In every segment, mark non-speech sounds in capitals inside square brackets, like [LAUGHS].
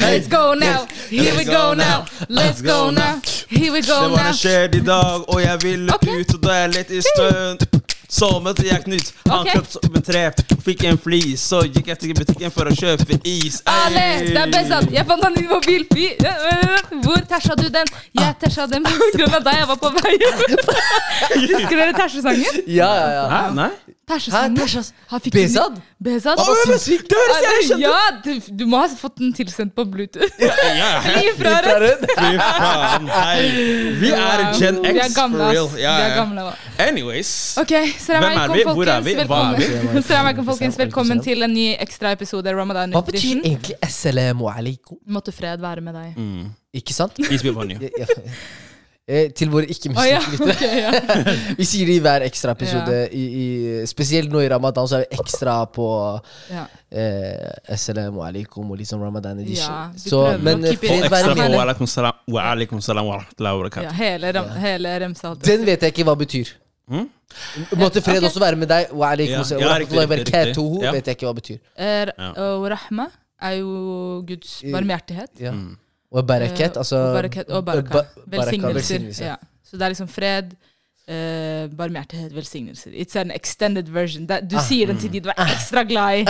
Let's go now. Here we go now. Let's go now. Here we go Det var now. en skjedd i dag, og jeg ville Ok. ut, og da jeg lett i stund Sovnet jeg Knut, han Ok. klapp som et tre. Fikk en flis, så gikk jeg til butikken for å kjøpe is. Ale, Ey! det er best at jeg fant den i mobil. Fy- Hvor tæsja du den? Ah. Jeg tæsja den på grunn av deg. Jeg var på vei hjem. [LAUGHS] Husker dere tæsjesangen? Ja, ja, ja. Hæ? Nei? Tæsjesangen. Hæ, tæsjas- Han fikk den- Bezad? Bezad? Å, men- sinnssykt. Det høres jævlig kjent ut! Ja, du, du må ha fått den tilsendt på Bluetooth. Ja, ja. Ifra Fra Rødt. Rød. Fy faen, hei. Vi er Gen Vi er X, for gamle, real. ass. Ja, Vi er ja. gamle, da. Anyways. Ok, Salam Hvem er alaikum, vi? Hvor er folkens. vi? Hva er vi? [LAUGHS] Velkommen. Salam alaikum, folkens. Velkommen til en ny ekstraepisode Ramadan Hva betyr Edition. egentlig assalamu alaikum? Måtte fred være med deg. Ikke sant? Peace be upon you. [LAUGHS] Ja, ja. Eh, Til våre Å ja, [LAUGHS] ikke-muslimske lyttere. ok, ja. Vi sier det i hver ekstra episode. I, i, spesielt nå i ramadan, så er vi ekstra på ja. eh, assalamu alaikum og liksom ramadan edition. Ja, vi så, prøver å men eh, keep it Og fred ekstra være på wa med deg. alaikum salam wa alaikum salam wa rahmatullahi wa barakatuh. ja hele, ram, hele remsa. alltid. Den vet jeg ikke hva betyr. Måtte fred Ok. også være med deg. Wa alaikum Hm? Ja, salam ja, wa riktig, rahmatullahi wa riktig, riktig. barakatuhu. Ja. Vet jeg ikke hva betyr. Er, Ja. og rahma er jo Guds barmhjertighet. Ja. Hm. Og Eh, barakat, altså og barakat, og baraka. ba- baraka, velsignelser. velsignelse. Ja. Så det er liksom fred, eh, barmhjertighet, velsignelser. It's an extended version. Det, Ah, du sier den mm. til de du er ekstra glad i.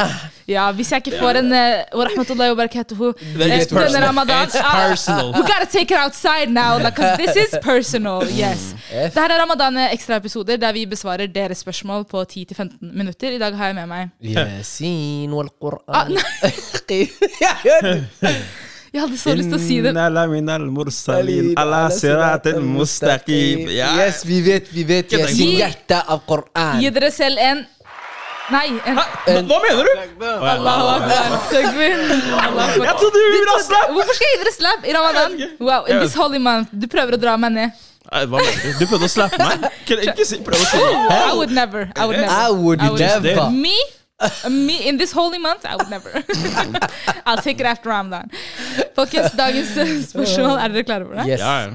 Ja, Hvis jeg ikke får en eh, wa rahmatullahi wa barakatuhu eh, It's personal. denne ramadan It's ah, [LAUGHS] personal. We gotta take it outside now, because this is personal. Yes. F. Dette er ramadan ekstraepisoder der vi besvarer deres spørsmål på 10-15 minutter. I dag har jeg med meg Yasin wal Ah, [LAUGHS] Qur'an. nei, Ja, hør du. Jeg hadde så lyst til å si det. Inna la min al mursalin ala siratil mustaqim. Ja. Yes, vi vet, vi vet. Ikke Yasin, tenk på det. hjertet av Qur'an. Gi dere selv en Nei, en Hva hva mener du? Å, ja. Allahu akbar. Takbir. Allahu akbar. Jeg trodde du ville ha slap! Hvorfor skal jeg gi dere slap i ramadan? Jeg vet ikke. Wow, Jeg in vet this holy month. Du prøver å dra meg ned. Nei, Hva mener du? Du prøvde å slappe meg? Kan jeg ikke si prøve å si I would never. I would I never. would I would never. Me? Me in this holy month? I would never. I'll take it after ramadan. Folkens, dagens eh, spørsmål, er dere klare for det? Yes. Ja, ja.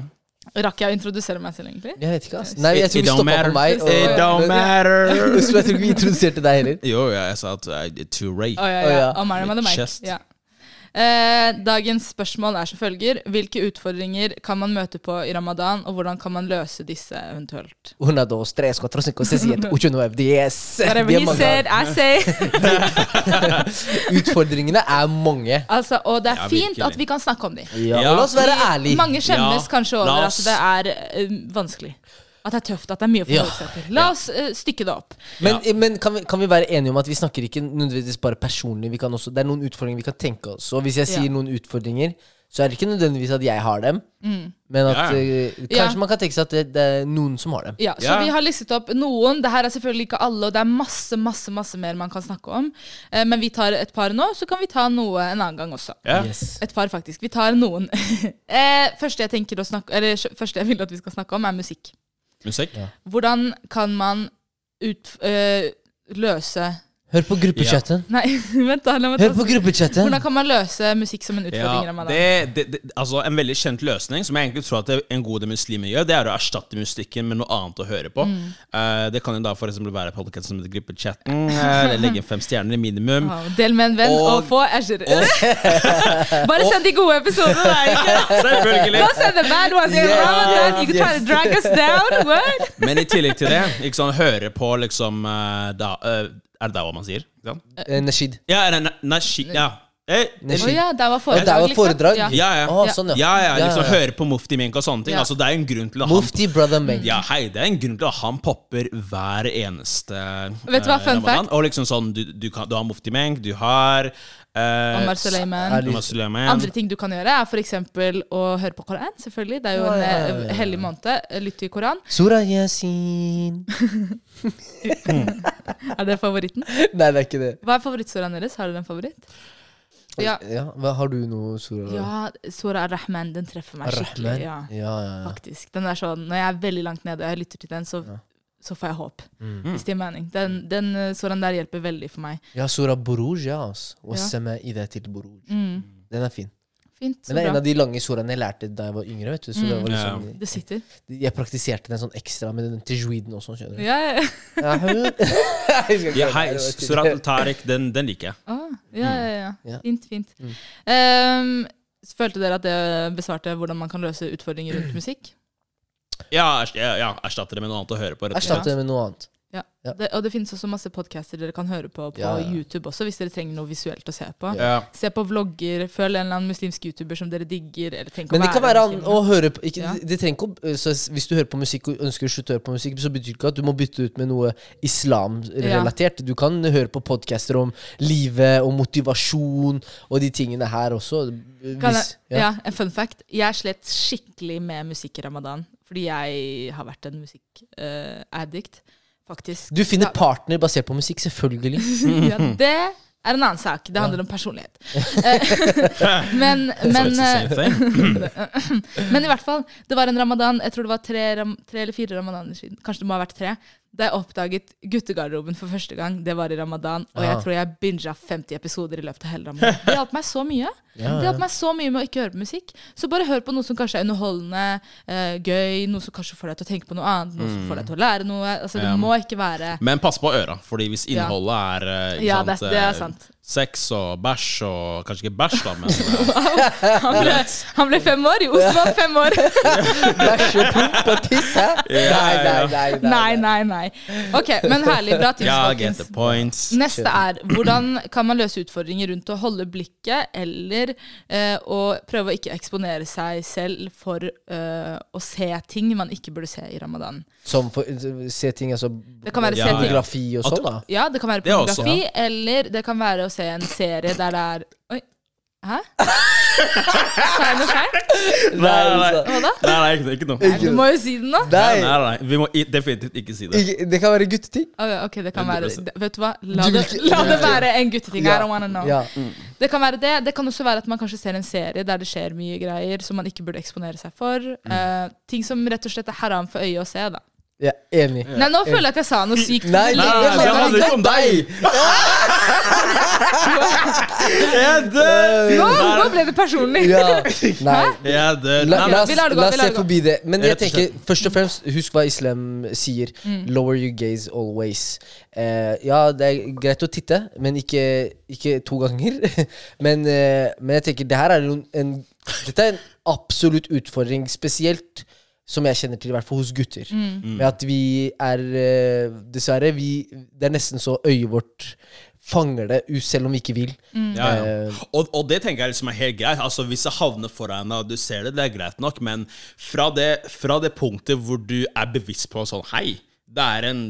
Rakk jeg å introdusere meg selv, egentlig? Jeg vet ikke, ass. Nei, jeg tror It vi don't stoppa matter. på meg. og- It don't [LAUGHS] [LAUGHS] matter. Så jeg tror ikke vi introduserte deg heller. Jo, ja, jeg sa eh, at I did to rape. Å ja, Å, ja. ja. Å, Mariam hadde merket. Chest. Ja. Eh, dagens spørsmål er som følger. Hvilke utfordringer kan man møte på i ramadan, og hvordan kan man løse disse eventuelt? Una, dos, tres, cuatro, cinco, seis, [LAUGHS] siete, ocho, nueve, diez. Whatever Vi er he mange. said, I [LAUGHS] say. Utfordringene er mange. Altså, og det er Ja, fint virkelig. at vi kan snakke om dem. Ja, Ja. og la oss være ærlige. Mange skjemmes Ja, kanskje la over at oss- det er eh, vanskelig. At det er tøft, at det er mye å Ja. forholde seg til. La oss eh, stykke det opp. Men, men kan, vi, kan vi være enige om at vi snakker ikke nødvendigvis bare personlig? Vi kan også, det er noen utfordringer vi kan tenke oss. Og hvis jeg Ja. sier noen utfordringer, så er det ikke nødvendigvis at jeg har dem. Men at Ja, ja. eh, kanskje Mm. Ja. man kan tenke seg at det, det er noen som har dem. Ja, så Ja. vi har listet opp noen. Det her er selvfølgelig ikke alle, og det er masse, masse, masse mer man kan snakke om. Eh, men vi tar et par nå, så kan vi ta noe en annen gang også. Ja. Yes. Et par, faktisk. Vi tar noen. [LAUGHS] eh, første, jeg tenker å snakke, eller, sj- første jeg vil at vi skal snakke om, er musikk. Musikk? Hvordan kan man ut, eh, løse [LAUGHS] Hør på gruppechatten. Nei, vent, da. La meg Hør ta på gruppechatten! Hvordan kan man løse musikk som en utfordring? i Ramadan? det, det, det, altså En veldig kjent løsning, som jeg egentlig tror at det en god del muslimer gjør, det er å erstatte musikken med noe annet å høre på. Eh, det kan jo da for eksempel være podkasten som heter Gruppechatten, eller legge inn fem stjerner i minimum. Wow, Del med en venn og, Og- få Azure. [LAUGHS] Bare send de gode episodene, da. [LAUGHS] ikke? Selvfølgelig! Don't send the bad ones. in Yes, Ramadan. You yes, can try to yes. drag us down. [LAUGHS] What? Men i tillegg til det, ikke sånn, høre på liksom eh, da, eh, Er det da hva man sier? Ikke sant? Eh, Nashid. Ja, er det na- nashi... Ja. Eh, Å Nashid. ja, der var Og der foredrag. var foredrag. Liksom. ja, Ja. ja. Å, sånn, Ja, ja, liksom Ja, ja. høre på Mufti Mink og sånne ting. Ja. Altså, det er en grunn til at han Mufti brother Meg. Ja, hei, det er en grunn til at han popper hver eneste Vet du hva, eh, fun Ramadan. fact? Og liksom sånn, du, du, kan, du har Mufti Menk, du har eh, Omar Suleiman. Ali. Omar Suleiman. Andre ting du kan gjøre, er f.eks. å høre på Koran. selvfølgelig. Det er jo Ja, en ja, ja, ja, ja. eh, hellig måned. Eh, Lytt til Koran. Surah [LAUGHS] Yasin. Er det favoritten? Nei, det er ikke det. Hva er favorittsoraen deres? Har dere en favoritt? Ja, Ja, hva, har du noe, Surah? ja Sora Ar-Rahman. Den treffer meg Rahman? skikkelig. Ja, Ja, ja, ja. faktisk. Den er sånn, Når jeg er veldig langt nede og jeg lytter til den, så så får jeg håp. Mm. Hvis det gir mening. Den, den eh, soraen der hjelper veldig for meg. Ja, Sura Buruj, ja. ass. Wassama ida til Buruj. Den er fin. Mm. Fint. Så Mm. Men det er en bra. Mm. av de lange soraene jeg lærte da jeg var yngre. vet du Så det var liksom, Det sitter. Jeg praktiserte den sånn ekstra med den tajweeden også. skjønner du Ja, ja. Ja, hører du? [LAUGHS] Jeg skal ikke Ja, være hei, der, det var Surat al-Tariq, den, den liker jeg. Ah, ja, ja, Ja. ja. Fint, fint. Mm. Ehm, følte dere at det besvarte hvordan man kan løse utfordringer rundt musikk? Ja, ers- ja, ja erstatte det med noe annet å høre på. Rett. og slett. Erstatte det med noe annet. Ja. Ja. Det, og det finnes også masse podcaster dere kan høre på på Ja, ja. YouTube også, hvis dere trenger noe visuelt å se på. Ja. Se på vlogger, følg en eller annen muslimsk YouTuber som dere digger. Eller tenk Men det kan være an muslim. å høre på ikke, Ja. det- det trenger ikke, å- så Hvis du hører på musikk og ønsker å slutte å høre på musikk, så betyr det ikke at du må bytte ut med noe islamrelatert. Du kan høre på podcaster om livet og motivasjon og de tingene her også. Kan Hvis, jeg, ja. ja, en fun fact. Jeg slet skikkelig med musikk i ramadan, fordi jeg har vært en musikk-addict, faktisk. Du finner Ja. partner basert på [LAUGHS] musikk, selvfølgelig. Ja, det er en annen sak. Det handler om personlighet. Eh, [LAUGHS] men, So men, it's the same eh, [LAUGHS] thing. men i hvert fall, det var en ramadan Jeg tror det var tre, ram, tre eller fire ramadaner siden. Kanskje det må ha vært tre. Da jeg oppdaget guttegarderoben for første gang, det var i ramadan. Og jeg Ah. tror jeg binga 50 episoder i løpet av hele ramadan. Det hjalp meg så mye. Ja, Det ja. hjalp meg så mye med å ikke høre på musikk. Så bare hør på noe som kanskje er underholdende, eh, gøy, noe som kanskje får deg til å tenke på noe annet, noe som Mm. får deg til å lære noe. Altså, det Ja. må ikke være Men pass på øra, Fordi hvis Ja. innholdet er eh, ikke Ja, det- sant, det er eh, sant. sex og bæsj og Kanskje ikke bæsj, da, [LAUGHS] men eh, Han ble, han ble fem år. Jo, Osman fem år. Bæsj og promp og piss, hæ? Nei, nei, nei. nei, Nei, nei, nei. Ok, men herlig. Bra tips, ja, get the folkens. points. Neste er hvordan kan man løse utfordringer rundt å holde blikket, eller eh, å prøve å ikke eksponere seg selv for eh, å se ting man ikke burde se i ramadan. Som for, se ting, altså Det kan være Ja, se ting Pornografi og At- sånn, da. Ja, det kan være Det også. pornografi, eller det kan være å se en serie der det er Oi, hæ? Sa jeg noe Nei, feil? nei, altså. nei. Hva da? Nei, nei, ikke, ikke noe. Du må jo si den, da. Nei, Nei, nei, nei. Vi må i, definitivt ikke si det. ikke- det kan være gutteting. Å, Ok, det kan være 100%. Vet du hva? La Du vil det, ikke- la det være en gutteting. I Ja. don't wanna know. Ja. Det kan være det. Det kan også være at man kanskje ser en serie der det skjer mye greier som man ikke burde eksponere seg for. Eh, ting som rett og slett er haram for øyet å se, da. ja, enig. Nei, nå føler jeg at jeg sa noe sykt. Nei, Eh. Nei, nei, nei, det handler ikke om deg! Jeg dør! Nå, nå ble det personlig! [LAUGHS] Ja, nei. Jeg dør. La, Nei, la, nei. vi lar oss- det gå, vi la oss lar se det gå. forbi det. Men jeg Rett og tenker, først og fremst, husk hva islam sier. Mm. Lower your gaze always. Eh, ja, det er greit å titte, men ikke, ikke to ganger. [LAUGHS] men, eh, men jeg tenker, det her er jo en Dette er en absolutt utfordring, spesielt som jeg kjenner til, i hvert fall hos gutter. Mm. Mm. Med at vi er eh, Dessverre, vi Det er nesten så øyet vårt fanger det, u- selv om vi ikke vil. Mm. Eh, Ja, ja. Og, og det tenker jeg liksom er helt greit. Altså Hvis det havner foran deg, og du ser det, det er greit nok, men fra det, fra det punktet hvor du er bevisst på sånn Hei, det er en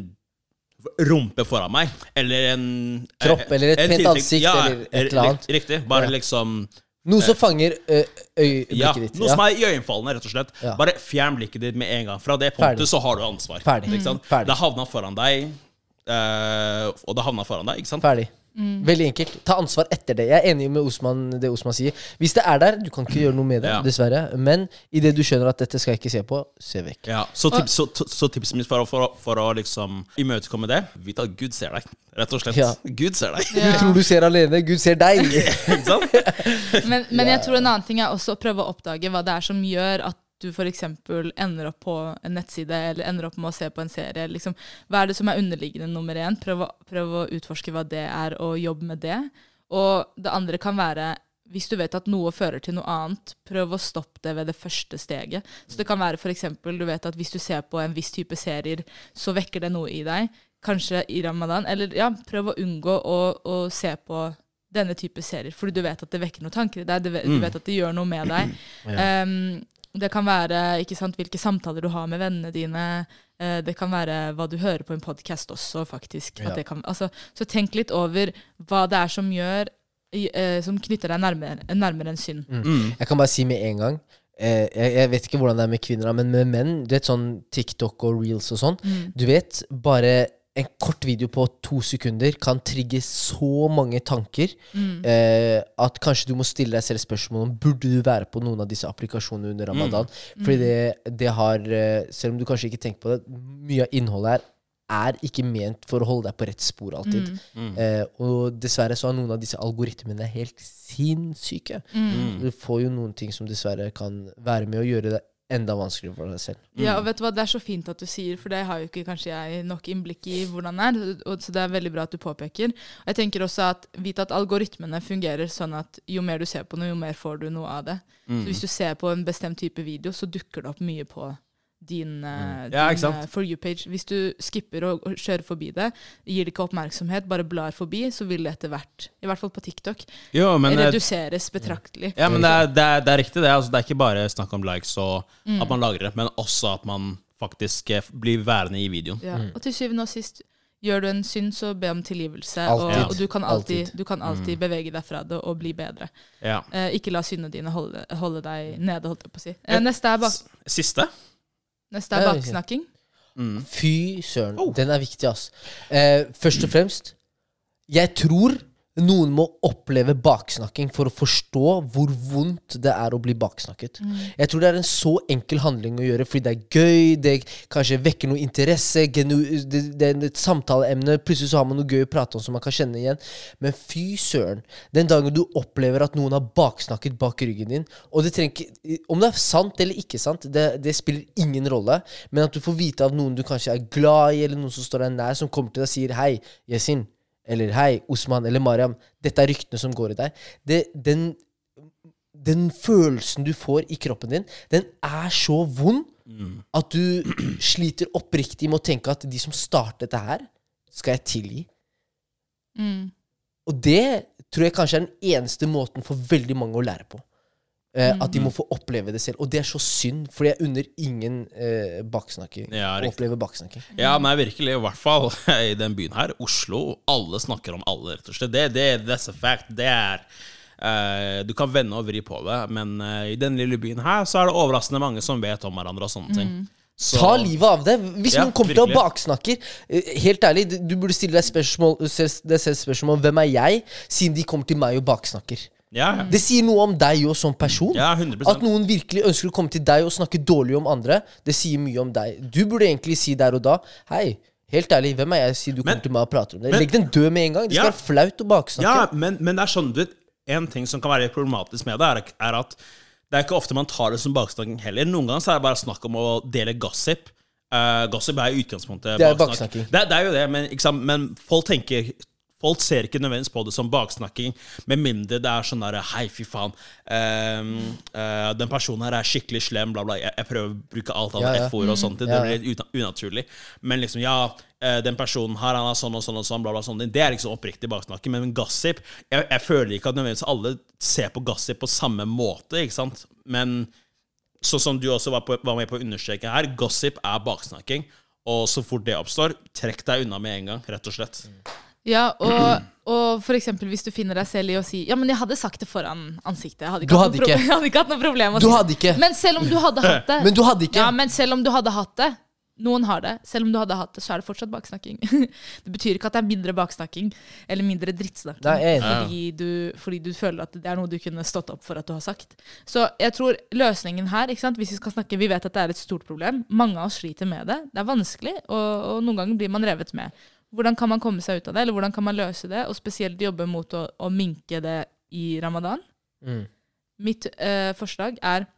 rumpe foran meg, eller en eh, Kropp, eller et en pent tiltrekk- ansikt, eller et ri- eller annet. Riktig. Bare Ja. liksom Noe som fanger ø, øyeblikket ja, ditt. Noe som er iøynefallende, rett og slett. Ja. Bare fjern blikket ditt med en gang. Fra det Ferdig. punktet så har du ansvar. Ferdig. Ikke sant? Mm. Ferdig. Det havna foran deg, eh, og det havna foran deg, ikke sant? Ferdig. Veldig enkelt. Ta ansvar etter det. Jeg er enig med Osman, det Osman sier. Hvis det er der, du kan ikke gjøre noe med det, Ja. dessverre. Men idet du skjønner at dette skal jeg ikke se på, se vekk. Ja, så, tips, så, så tipset mitt for å, for å, for å liksom imøtekomme det Vit at Gud ser deg, rett og slett. Ja. Gud ser deg. [LAUGHS] Du tror du ser alene, Gud ser deg. [LAUGHS] Ikke sant? [LAUGHS] Men, men jeg tror en annen ting er også å prøve å oppdage hva det er som gjør at du f.eks. ender opp på en nettside eller ender opp med å se på en serie. Liksom, hva er det som er underliggende nummer én? Prøv å, prøv å utforske hva det er, og jobb med det. Og det andre kan være hvis du vet at noe fører til noe annet, prøv å stoppe det ved det første steget. Så det kan være f.eks. du vet at hvis du ser på en viss type serier, så vekker det noe i deg. Kanskje i ramadan. Eller ja, prøv å unngå å, å se på denne type serier, fordi du vet at det vekker noen tanker i deg, du vet, du vet at det gjør noe med deg. Ehm, det kan være ikke sant, hvilke samtaler du har med vennene dine, eh, det kan være hva du hører på en podkast også, faktisk. Ja. At det kan, altså, så tenk litt over hva det er som gjør i- eh, som knytter deg nærmere, nærmere en synd. Mm. Jeg kan bare si med en gang eh, jeg, jeg vet ikke hvordan det er med kvinner, da, men med menn Du vet sånn TikTok og reels og sånn. Du vet, bare en kort video på to sekunder kan trigge så mange tanker eh, at kanskje du må stille deg selv spørsmål om burde du være på noen av disse applikasjonene under ramadan. Fordi det, det har, eh, selv om du kanskje ikke tenker på det, mye av innholdet er er ikke ment for å holde deg på rett spor alltid. Eh, og dessverre så er noen av disse algoritmene helt sinnssyke. Du får jo noen ting som dessverre kan være med å gjøre det enda vanskeligere for deg selv. Ja, Mm. og vet du hva, Det er så fint at du sier, for det har jo ikke kanskje jeg nok innblikk i hvordan det er. og- Så det er veldig bra at du påpeker. Og jeg tenker også at Vite at algoritmene fungerer sånn at jo mer du ser på noe, jo mer får du noe av det. Mm. Så Hvis du ser på en bestemt type video, så dukker det opp mye på din, eh, Mm. Ja, ikke din sant? eh, For you-page. Hvis du skipper og, og kjører forbi det, gir det ikke oppmerksomhet, bare blar forbi, så vil det etter hvert, i hvert fall på TikTok, Jo, men eh, reduseres betraktelig. Ja, men det er, det er, det er riktig, det. Altså, det er ikke bare snakk om likes og Mm. at man lagrer det, men også at man faktisk eh, blir værende i videoen. Ja. Mm. Og til syvende og sist, gjør du en synd, så be om tilgivelse. Alltid. Og, og du kan alltid, Alltid. Mm. Du kan alltid bevege deg fra det og bli bedre. Ja. Eh, ikke la syndene dine holde, holde Mm. deg nede, holdt jeg på å si. Eh, neste er, bak, S- Siste? neste er Ja, ok. baksnakking. Fy søren, den er viktig, ass. Eh, først og fremst, jeg tror noen må oppleve baksnakking for å forstå hvor vondt det er å bli baksnakket. Jeg tror det er en så enkel handling å gjøre fordi det er gøy, det kanskje vekker noe interesse, genu det, det er et samtaleemne, plutselig så har man noe gøy å prate om som man kan kjenne igjen. Men fy søren, den dagen du opplever at noen har baksnakket bak ryggen din, og det trenger ikke Om det er sant eller ikke sant, det, det spiller ingen rolle, men at du får vite av noen du kanskje er glad i, eller noen som står deg nær, som kommer til deg og sier 'hei, Yasin', eller 'hei, Osman', eller 'Mariam', dette er ryktene som går i deg. Det, den, den følelsen du får i kroppen din, den er så vond Mm. at du [CLEARS THROAT] sliter oppriktig med å tenke at de som startet dette her, skal jeg tilgi. Mm. Og det tror jeg kanskje er den eneste måten for veldig mange å lære på. Eh, At Mm. de må få oppleve det selv. Og det er så synd, for jeg unner ingen eh, baksnakking. Ja, å riktig. oppleve baksnakking. Ja, nei, virkelig. I hvert fall [LAUGHS] i den byen her. Oslo. Alle snakker om alle, rett og slett. Det, det, that's a fact. Det er eh, Du kan vende og vri på det, men eh, i den lille byen her så er det overraskende mange som vet om hverandre og sånne ting. Så- Mm. Ta livet av deg. Hvis Ja, noen kommer til å virkelig. baksnakke eh, Helt ærlig, du- du burde stille deg spørsmål, selv- deg selv spørsmål hvem er jeg, siden de kommer til meg og baksnakker. Ja, ja. Det sier noe om deg jo som person. Ja, 100%. At noen virkelig ønsker å komme til deg og snakke dårlig om andre, det sier mye om deg. Du burde egentlig si der og da Hei, helt ærlig, hvem er jeg? Si du Men- kommer til meg og prater om det. men- Legg den død med en gang. Det skal Ja. være flaut å baksnakke. Ja, men, men det er sånn, du vet, en ting som kan være litt problematisk med det, er, er at det er ikke ofte man tar det som baksnakking heller. Noen ganger så er det bare snakk om å dele gossip. Eh, gossip er i utgangspunktet Det er baksnakk. baksnakking. Det, det er jo det, men, ikke sant? men folk tenker Folk ser ikke nødvendigvis på det som baksnakking, med mindre det er sånn derre Hei, fy faen. ehm, eh, den personen her er skikkelig slem, bla, bla. Jeg, jeg prøver å bruke alt av Ja, ja. F-ord og sånt. Det Ja, blir ja. litt una- unaturlig. Men liksom, ja, eh, den personen her, han er sånn og sånn og sånn, bla, bla, sånn. Det er liksom oppriktig baksnakking. Men gossip jeg, jeg føler ikke at nødvendigvis alle ser på gossip på samme måte, ikke sant? Men sånn som du også var, på, var med på å understreke her, gossip er baksnakking. Og så fort det oppstår, trekk deg unna med en gang, rett og slett. Ja, og, og for eksempel hvis du finner deg selv i å si Ja, men jeg hadde sagt det foran ansiktet. Jeg hadde ikke, Du hatt, hadde noe ikke. proble- [LAUGHS] jeg hadde ikke hatt noe problem. å Du si det. hadde ikke. Men selv om du hadde hatt det Men du hadde ikke. Ja, men selv om du hadde hatt det Noen har det. Selv om du hadde hatt det, så er det fortsatt baksnakking. [LAUGHS] det betyr ikke at det er mindre baksnakking eller mindre drittsnakking Nei, jeg er enig. fordi, du, fordi du føler at det er noe du kunne stått opp for at du har sagt. Så jeg tror løsningen her ikke sant? Hvis Vi skal snakke, vi vet at det er et stort problem. Mange av oss sliter med det. Det er vanskelig, og, og noen ganger blir man revet med. Hvordan kan man komme seg ut av det, eller hvordan kan man løse det? Og spesielt jobbe mot å, å minke det i ramadan. Mm. Mitt eh, forslag er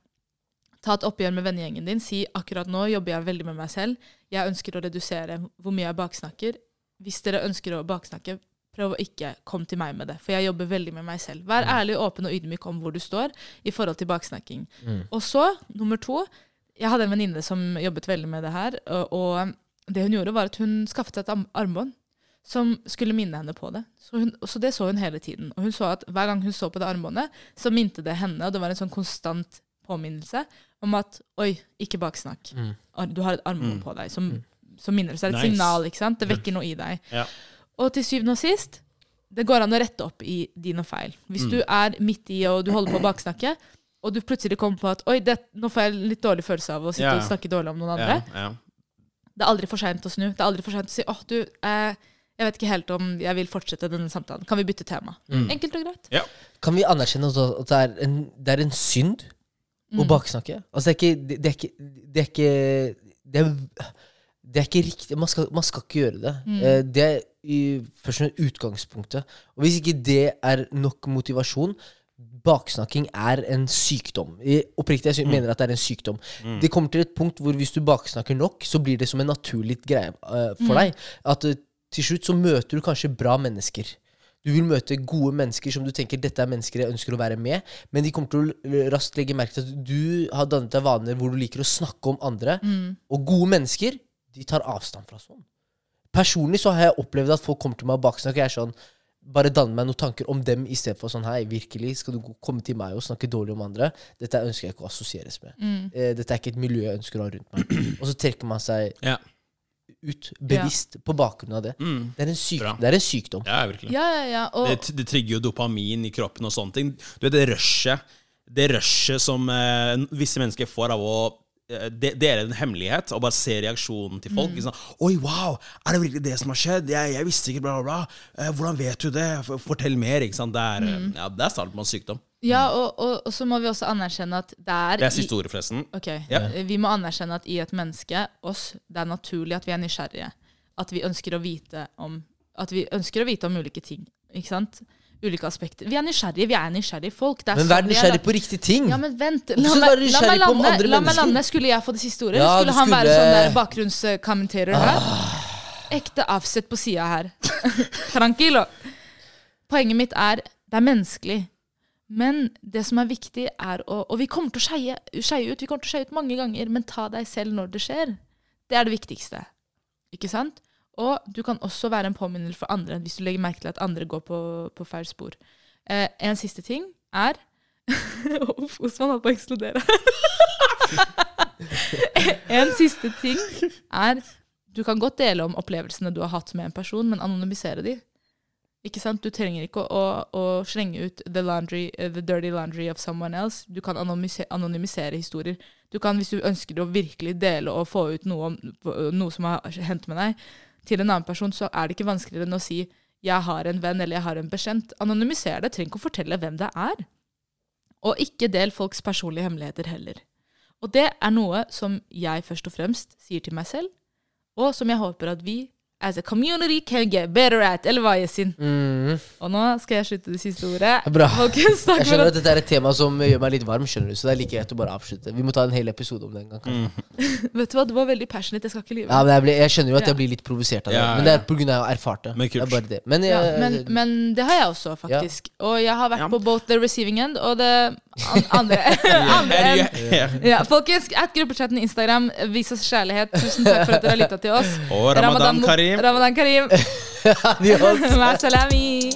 ta et oppgjør med vennegjengen din. Si akkurat nå jobber jeg veldig med meg selv. Jeg ønsker å redusere hvor mye jeg baksnakker. Hvis dere ønsker å baksnakke, prøv å ikke komme til meg med det. For jeg jobber veldig med meg selv. Vær ærlig, åpen og ydmyk om hvor du står i forhold til baksnakking. Og så, nummer to Jeg hadde en venninne som jobbet veldig med det her. Og, og det hun gjorde, var at hun skaffet seg et arm- armbånd som skulle minne henne på det. Så, hun, så det så hun hele tiden. Og hun så at hver gang hun så på det armbåndet, så minte det henne, og det var en sånn konstant påminnelse om at oi, ikke baksnakk. Ar- Du har et armbånd på deg som, som minnelse. Det er et Nice. signal, ikke sant? Det vekker noe i deg. Ja. Og til syvende og sist, det går an å rette opp i dine feil. Hvis Mm. du er midt i og du holder på å baksnakke, og du plutselig kommer på at oi, det, nå får jeg litt dårlig følelse av å sitte Ja. og snakke dårlig om noen andre. Ja, ja. Det er aldri for seint å snu. Det er aldri for sent å si åh, du, eh, jeg vet ikke helt om jeg vil fortsette denne samtalen. Kan vi bytte tema? Mm. Enkelt og greit. ja. Kan vi anerkjenne også at det er en, det er en synd å baksnakke? Altså, det er ikke Det, det er ikke Det er ikke det er, Det er ikke riktig. Man skal, man skal ikke gjøre det. Eh, Det er i, først og fremst utgangspunktet. Og hvis ikke det er nok motivasjon Baksnakking er en sykdom. I- Oppriktig, jeg sy- mener at det er en sykdom. Det kommer til et punkt hvor hvis du baksnakker nok, så blir det som en naturlig greie eh, for deg. At eh, til slutt så møter du kanskje bra mennesker. Du vil møte gode mennesker som du tenker dette er mennesker jeg ønsker å være med, men de kommer til å raskt legge merke til at du har dannet deg vaner hvor du liker å snakke om andre. Og gode mennesker, de tar avstand fra sånn. Personlig så har jeg opplevd at folk kommer til meg og baksnakker. Jeg er sånn, bare danne meg noen tanker om dem istedenfor sånn Hei, virkelig, skal du gå- komme til meg og snakke dårlig om andre? Dette ønsker jeg ikke å assosieres med. Eh, Dette er ikke et miljø jeg ønsker å ha rundt meg. Og så trekker man seg Ja. ut bevisst på bakgrunn av det. Mm. Det, er en syk, Bra. det er en sykdom. ja, virkelig. Ja, ja, ja. Og, Det, det trigger jo dopamin i kroppen og sånne ting. Du vet det rushet Det rushet som eh, visse mennesker får av å eh, de- dele en hemmelighet og bare se reaksjonen til folk. ikke sant? 'Oi, wow! Er det virkelig det som har skjedd? Jeg, jeg visste ikke, bla, bla, bla. Eh, hvordan vet du det? F- Fortell mer. ikke sant? Det er, eh, ja, det er starten på en sykdom. ja og, og, og så må vi også anerkjenne at det er Det er siste ordet, forresten. Ok, Ja. Vi må anerkjenne at i et menneske, oss, det er naturlig at vi er nysgjerrige. At vi ønsker å vite om, at vi ønsker å vite om ulike ting. Ikke sant? Ulike aspekter. Vi er nysgjerrige, vi er nysgjerrige folk. Det er Men vær sånn vi er nysgjerrig lagt- på riktige ting. ja, men vent. La Hvorfor skal du meg, la, meg være nysgjerrig på om lande, andre la meg mennesker? lande. Sånn, Skulle jeg få det siste ordet? Ja, eller skulle du han være skulle- Ah. sånn der bakgrunnskommenterer her? Ekte avsett på sida her. [LAUGHS] Tranquilo. Poenget mitt er det er menneskelig. Men det som er viktig, er å Og vi kommer til å skeie skeie ut. Vi kommer til å skeie ut mange ganger, men ta deg selv når det skjer. Det er det viktigste. Ikke sant? Og du kan også være en påminner for andre hvis du legger merke til at andre går på, på feil spor. Eh, en siste ting er [LAUGHS] Uff, Osman holdt på å eksplodere. en siste ting er Du kan godt dele om opplevelsene du har hatt med en person, men anonymisere de. Ikke sant? Du trenger ikke å, å, å slenge ut the, laundry, eh, the dirty laundry of someone else. Du kan anonymise, anonymisere historier. Du kan, hvis du ønsker å virkelig dele og få ut noe, om, noe som har hendt med deg, til en annen person, så er det ikke vanskeligere enn å si 'jeg har en venn' eller 'jeg har en bekjent'. Anonymiser det. Trenger ikke å fortelle hvem det er. Og ikke del folks personlige hemmeligheter heller. Og det er noe som jeg først og fremst sier til meg selv, og som jeg håper at vi as a community can get better at, eller hva, Yesin? Mm. Og nå skal jeg slutte det siste ordet. Bra. Folkens, takk Jeg for skjønner at at dette er et tema som gjør meg litt varm, skjønner du. Så det er like greit å bare avslutte. Vi må ta en hel episode om det en gang. kanskje. Vet du hva, du var veldig passionate, jeg skal ikke lyve. Ja, men jeg, blir- jeg skjønner jo at Ja. jeg blir litt provosert av det. Ja, Mm. ja, Men det er pga. jeg har erfart det. Men det kult. er bare det. Men, jeg, Ja, men, [LAUGHS] men det har jeg også, faktisk. Og jeg har vært Ja. på both the receiving end og det [LAUGHS] an- andre, andre end. [LAUGHS] Ja, folkens, at gruppechatten Instagram, vis oss kjærlighet. Tusen takk for at dere har lytta til oss. Og [LAUGHS] Ramadan Karim. altså. Ramadan Karim. Adios. Masalami.